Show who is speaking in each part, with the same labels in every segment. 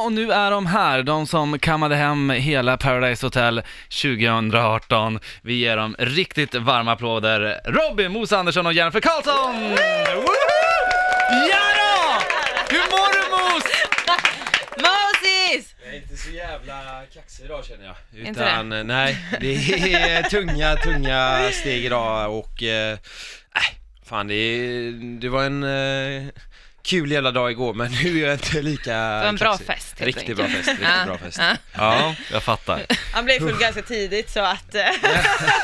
Speaker 1: Och nu är de här, de som kammade hem hela Paradise Hotel 2018. Vi ger dem riktigt varma applåder. Robin, Mosa Andersson och Jennifer Karlsson! Woho! Ja då! Hur mår du Mos?
Speaker 2: Moses!
Speaker 3: Jag är inte så jävla kaxig idag känner jag. Utan, eh,
Speaker 2: Inte det?
Speaker 3: nej, det är tunga, tunga steg idag och... Eh, nej, fan det, är- det var en eh, kul jävla dag igår men nu är jag inte lika Det
Speaker 2: var en bra fest, helt enkelt.
Speaker 3: Riktigt bra fest,
Speaker 2: Ja.
Speaker 3: riktigt bra fest.
Speaker 2: Ja.
Speaker 1: Ja, jag fattar.
Speaker 4: Han blev full ganska tidigt så att... eh,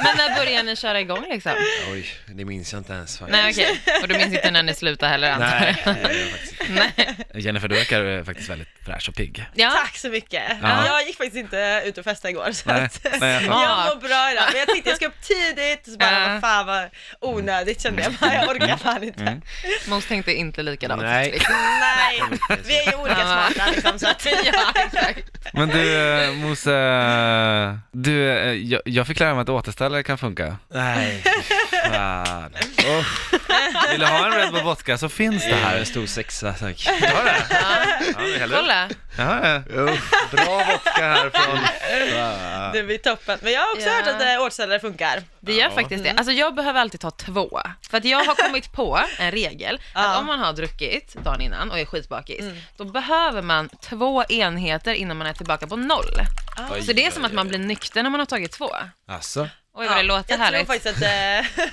Speaker 2: Men när började ni köra igång liksom?
Speaker 3: Oj, det minns jag inte ens faktiskt.
Speaker 2: Nej okej, och du minns inte när ni slutade heller antar jag?
Speaker 3: Nej, det gör jag faktiskt inte.
Speaker 1: Jennifer, du verkar eh, faktiskt väldigt fräsch och pigg.
Speaker 2: Ja,
Speaker 4: Tack så mycket!
Speaker 1: Ja.
Speaker 4: Jag gick faktiskt inte ut och festade igår så
Speaker 1: Nej,
Speaker 4: att... eh,
Speaker 1: nej, jag
Speaker 2: fattar.
Speaker 4: jag mår bra idag, men jag tänkte jag ska upp tidigt och så bara,
Speaker 2: Ja.
Speaker 4: vad fan vad onödigt kände jag bara, jag
Speaker 1: Mm.
Speaker 4: orkar fan inte.
Speaker 2: Mos tänkte inte likadant.
Speaker 3: Nej.
Speaker 4: Nej, vi är ju olika
Speaker 2: Ja.
Speaker 4: smarta liksom så att...
Speaker 2: Ja, exakt.
Speaker 1: Men du eh, Mose, eh, du, eh, jag- jag fick lära mig att återställare kan funka.
Speaker 3: Nej, fan. Oh,
Speaker 1: Vill du ha en Red Bull Vodka så finns
Speaker 3: det
Speaker 1: det
Speaker 3: här är
Speaker 1: här.
Speaker 3: en stor sexa tack.
Speaker 1: Har det?
Speaker 3: Ja,
Speaker 2: Kolla.
Speaker 1: Jaha, ja. Bra vodka här från...
Speaker 4: Det blir toppen. Men jag har också
Speaker 2: Ja.
Speaker 4: hört att eh, återställare funkar.
Speaker 2: Det gör faktiskt det. Alltså jag behöver alltid ta två. För att jag har kommit på en regel att
Speaker 4: Ja. Mm.
Speaker 2: om man har druckit dagen innan och är skitbakis, då behöver man två enheter innan man är tillbaka på noll. Så det är som att man blir nykter när man har tagit två.
Speaker 3: Alltså,
Speaker 2: Oj vad det låter
Speaker 4: jag
Speaker 2: härligt.
Speaker 4: tror faktiskt att eh,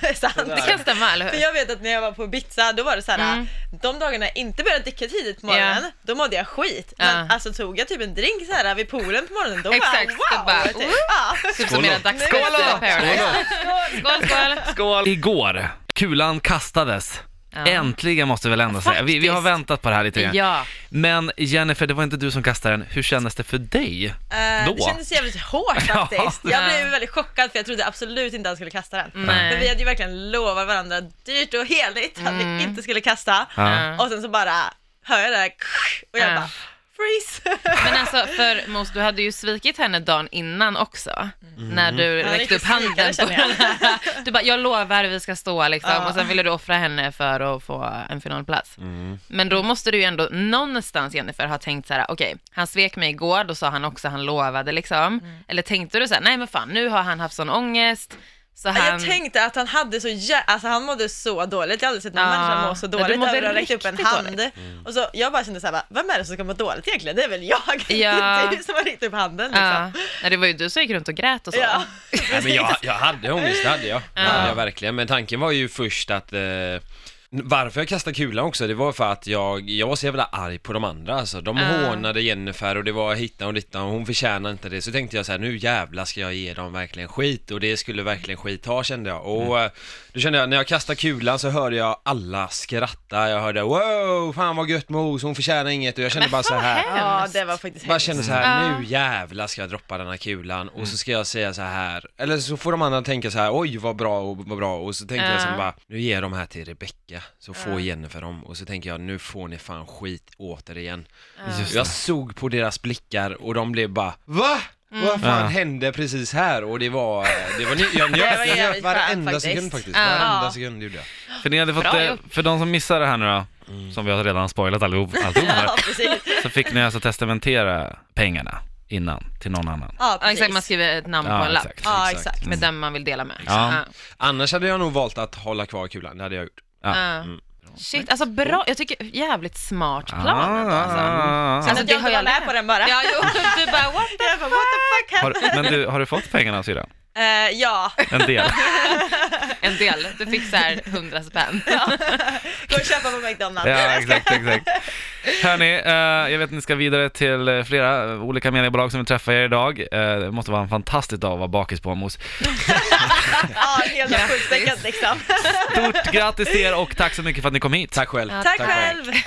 Speaker 4: det är sant.
Speaker 2: Det kan stämma, eller
Speaker 4: För
Speaker 2: hur?
Speaker 4: jag vet att när jag var på Ibiza, då var det så här,
Speaker 2: Mm.
Speaker 4: de dagarna jag inte började dricka tidigt på morgonen, då mådde jag skit.
Speaker 2: Ja.
Speaker 4: Men alltså tog jag typ en drink så här vid poolen på morgonen, då
Speaker 2: Exakt,
Speaker 4: bara
Speaker 2: då
Speaker 4: wow!
Speaker 2: bara,
Speaker 4: typ. Ja.
Speaker 2: Typ som era
Speaker 4: Skål då!
Speaker 2: dagsgåta Paradise. Skål, skål!
Speaker 1: Skål! Igår, kulan kastades.
Speaker 2: Ja.
Speaker 1: Äntligen måste vi väl ändå säga. Vi, vi har
Speaker 2: Faktiskt.
Speaker 1: väntat på det här lite grann.
Speaker 2: Ja.
Speaker 1: Men Jennifer, det var inte du som kastade den. Hur kändes det för dig?
Speaker 4: Eh,
Speaker 1: Då?
Speaker 4: Det kändes jävligt hårt
Speaker 1: Ja.
Speaker 4: faktiskt.
Speaker 2: Ja.
Speaker 4: Jag blev ju väldigt chockad för jag trodde absolut inte han skulle kasta den.
Speaker 2: Nej.
Speaker 4: Men vi hade ju verkligen lovat varandra dyrt och heligt att
Speaker 2: Mm.
Speaker 4: vi inte skulle kasta.
Speaker 1: Ja.
Speaker 4: Och sen så bara hör jag det här och jag
Speaker 2: Ja.
Speaker 4: bara freeze.
Speaker 2: Men alltså för Mos, du hade ju svikit henne dagen innan också.
Speaker 1: Mm.
Speaker 2: När du
Speaker 4: Ja,
Speaker 2: räckte
Speaker 4: riktigt
Speaker 2: upp handen.
Speaker 4: svikare
Speaker 2: På
Speaker 4: känner jag.
Speaker 2: den här. Du bara, jag lovar vi ska stå liksom.
Speaker 4: Ja.
Speaker 2: Och sen ville du offra henne för att få en finalplats.
Speaker 1: Mm.
Speaker 2: Men då måste du ju ändå någonstans Jennifer ha tänkt så här: okej, han svek mig igår, då sa han också han lovade liksom.
Speaker 4: Mm.
Speaker 2: Eller tänkte du så här, nej men fan nu har han haft sån ångest. Så han...
Speaker 4: Jag tänkte att han hade så jä- alltså han mådde så dåligt, jag har aldrig sett någon
Speaker 2: Ja.
Speaker 4: människa må så
Speaker 2: Ja, du
Speaker 4: dåligt
Speaker 2: mådde
Speaker 4: över att räcka upp en
Speaker 2: riktigt
Speaker 4: hand. Och så jag bara kände såhär, vem är det som ska må dåligt egentligen? Det är väl jag,
Speaker 2: Ja.
Speaker 4: det är du som har räckt upp handen
Speaker 2: ja.
Speaker 4: liksom.
Speaker 2: Nej, det var ju du som gick runt och grät och så.
Speaker 4: Ja.
Speaker 3: Nej, men jag, jag hade ångest, det hade jag. Det hade jag verkligen. Men tanken var ju först att eh, varför jag kastade kulan också, det var för att jag, jag var så jävla arg på de andra alltså. De hånade Jennifer och det var hittan och dittan och hon förtjänar inte det. Så tänkte jag så här, nu jävla ska jag ge dem verkligen skit och det skulle verkligen skit ha kände jag. Och eh, då kände jag, när jag kastade kulan så hörde jag alla skratta. Jag hörde wow, fan vad gött mos, hon förtjänar inget och jag kände bara så här.
Speaker 4: ja, det var faktiskt
Speaker 3: Bara
Speaker 4: hemskt.
Speaker 3: kände så här, nu jävla ska jag droppa den här kulan och så ska jag säga så här Eller så får de andra tänka så här, oj vad bra och vad bra och så tänker jag
Speaker 2: Ja.
Speaker 3: sen bara, nu ger jag de här till Rebecka så får Jennifer dem och så tänker jag, nu får ni fan skit återigen
Speaker 1: Just
Speaker 3: Jag
Speaker 1: det.
Speaker 3: såg på deras blickar och de blev bara, VA? Vad fan
Speaker 1: Ja.
Speaker 3: hände precis här? Och det var, det var ny, jag
Speaker 4: Det var
Speaker 3: njöt, jag njöt
Speaker 4: jävligt
Speaker 3: varenda
Speaker 4: skönt
Speaker 3: sekund
Speaker 4: faktiskt.
Speaker 3: faktiskt,
Speaker 2: Ja.
Speaker 3: varenda sekund gjorde jag
Speaker 1: För, ni hade fått,
Speaker 2: Bra
Speaker 1: eh,
Speaker 2: gjort.
Speaker 1: för de som missar det här nu då, som vi har redan spoilat allihop, alltihop här,
Speaker 4: Ja, precis.
Speaker 1: så fick ni alltså testamentera pengarna innan till någon annan.
Speaker 4: Ja,
Speaker 2: Ja, exakt,
Speaker 4: precis.
Speaker 2: man skriver ett namn på
Speaker 1: Ja,
Speaker 2: en lapp.
Speaker 1: exakt.
Speaker 4: Ja,
Speaker 3: Exakt.
Speaker 4: exakt.
Speaker 2: Med den man vill dela med.
Speaker 1: Mm.
Speaker 2: Liksom.
Speaker 1: Ja.
Speaker 3: Annars hade jag nog valt att hålla kvar kulan, det hade jag gjort
Speaker 2: Ja.
Speaker 1: Mm.
Speaker 2: Shit, alltså bra, jag tycker jävligt smart plan ändå, alltså.
Speaker 1: Ah.
Speaker 4: Sen att jag inte var med på den bara.
Speaker 2: Ja, jo, du bara what?
Speaker 4: Jag bara, what the fuck
Speaker 1: Har,
Speaker 4: happened?
Speaker 1: men du, har du fått pengarna syrran?
Speaker 4: Eh, ja,
Speaker 1: En del?
Speaker 2: En del, du fick så här 100 spänn.
Speaker 4: gå och köpa på McDonalds.
Speaker 1: Ja, exakt, exakt. Hörni, eh, jag vet att ni ska vidare till eh, flera eh, olika mediebolag som vill träffa er idag. Eh, det måste vara en fantastisk dag att vara bakis på, Mos.
Speaker 4: Ja, helt fullständigt liksom.
Speaker 1: Stort grattis till er och tack så mycket för att ni kom hit.
Speaker 3: Tack själv!
Speaker 2: Ja,
Speaker 4: Tack själv!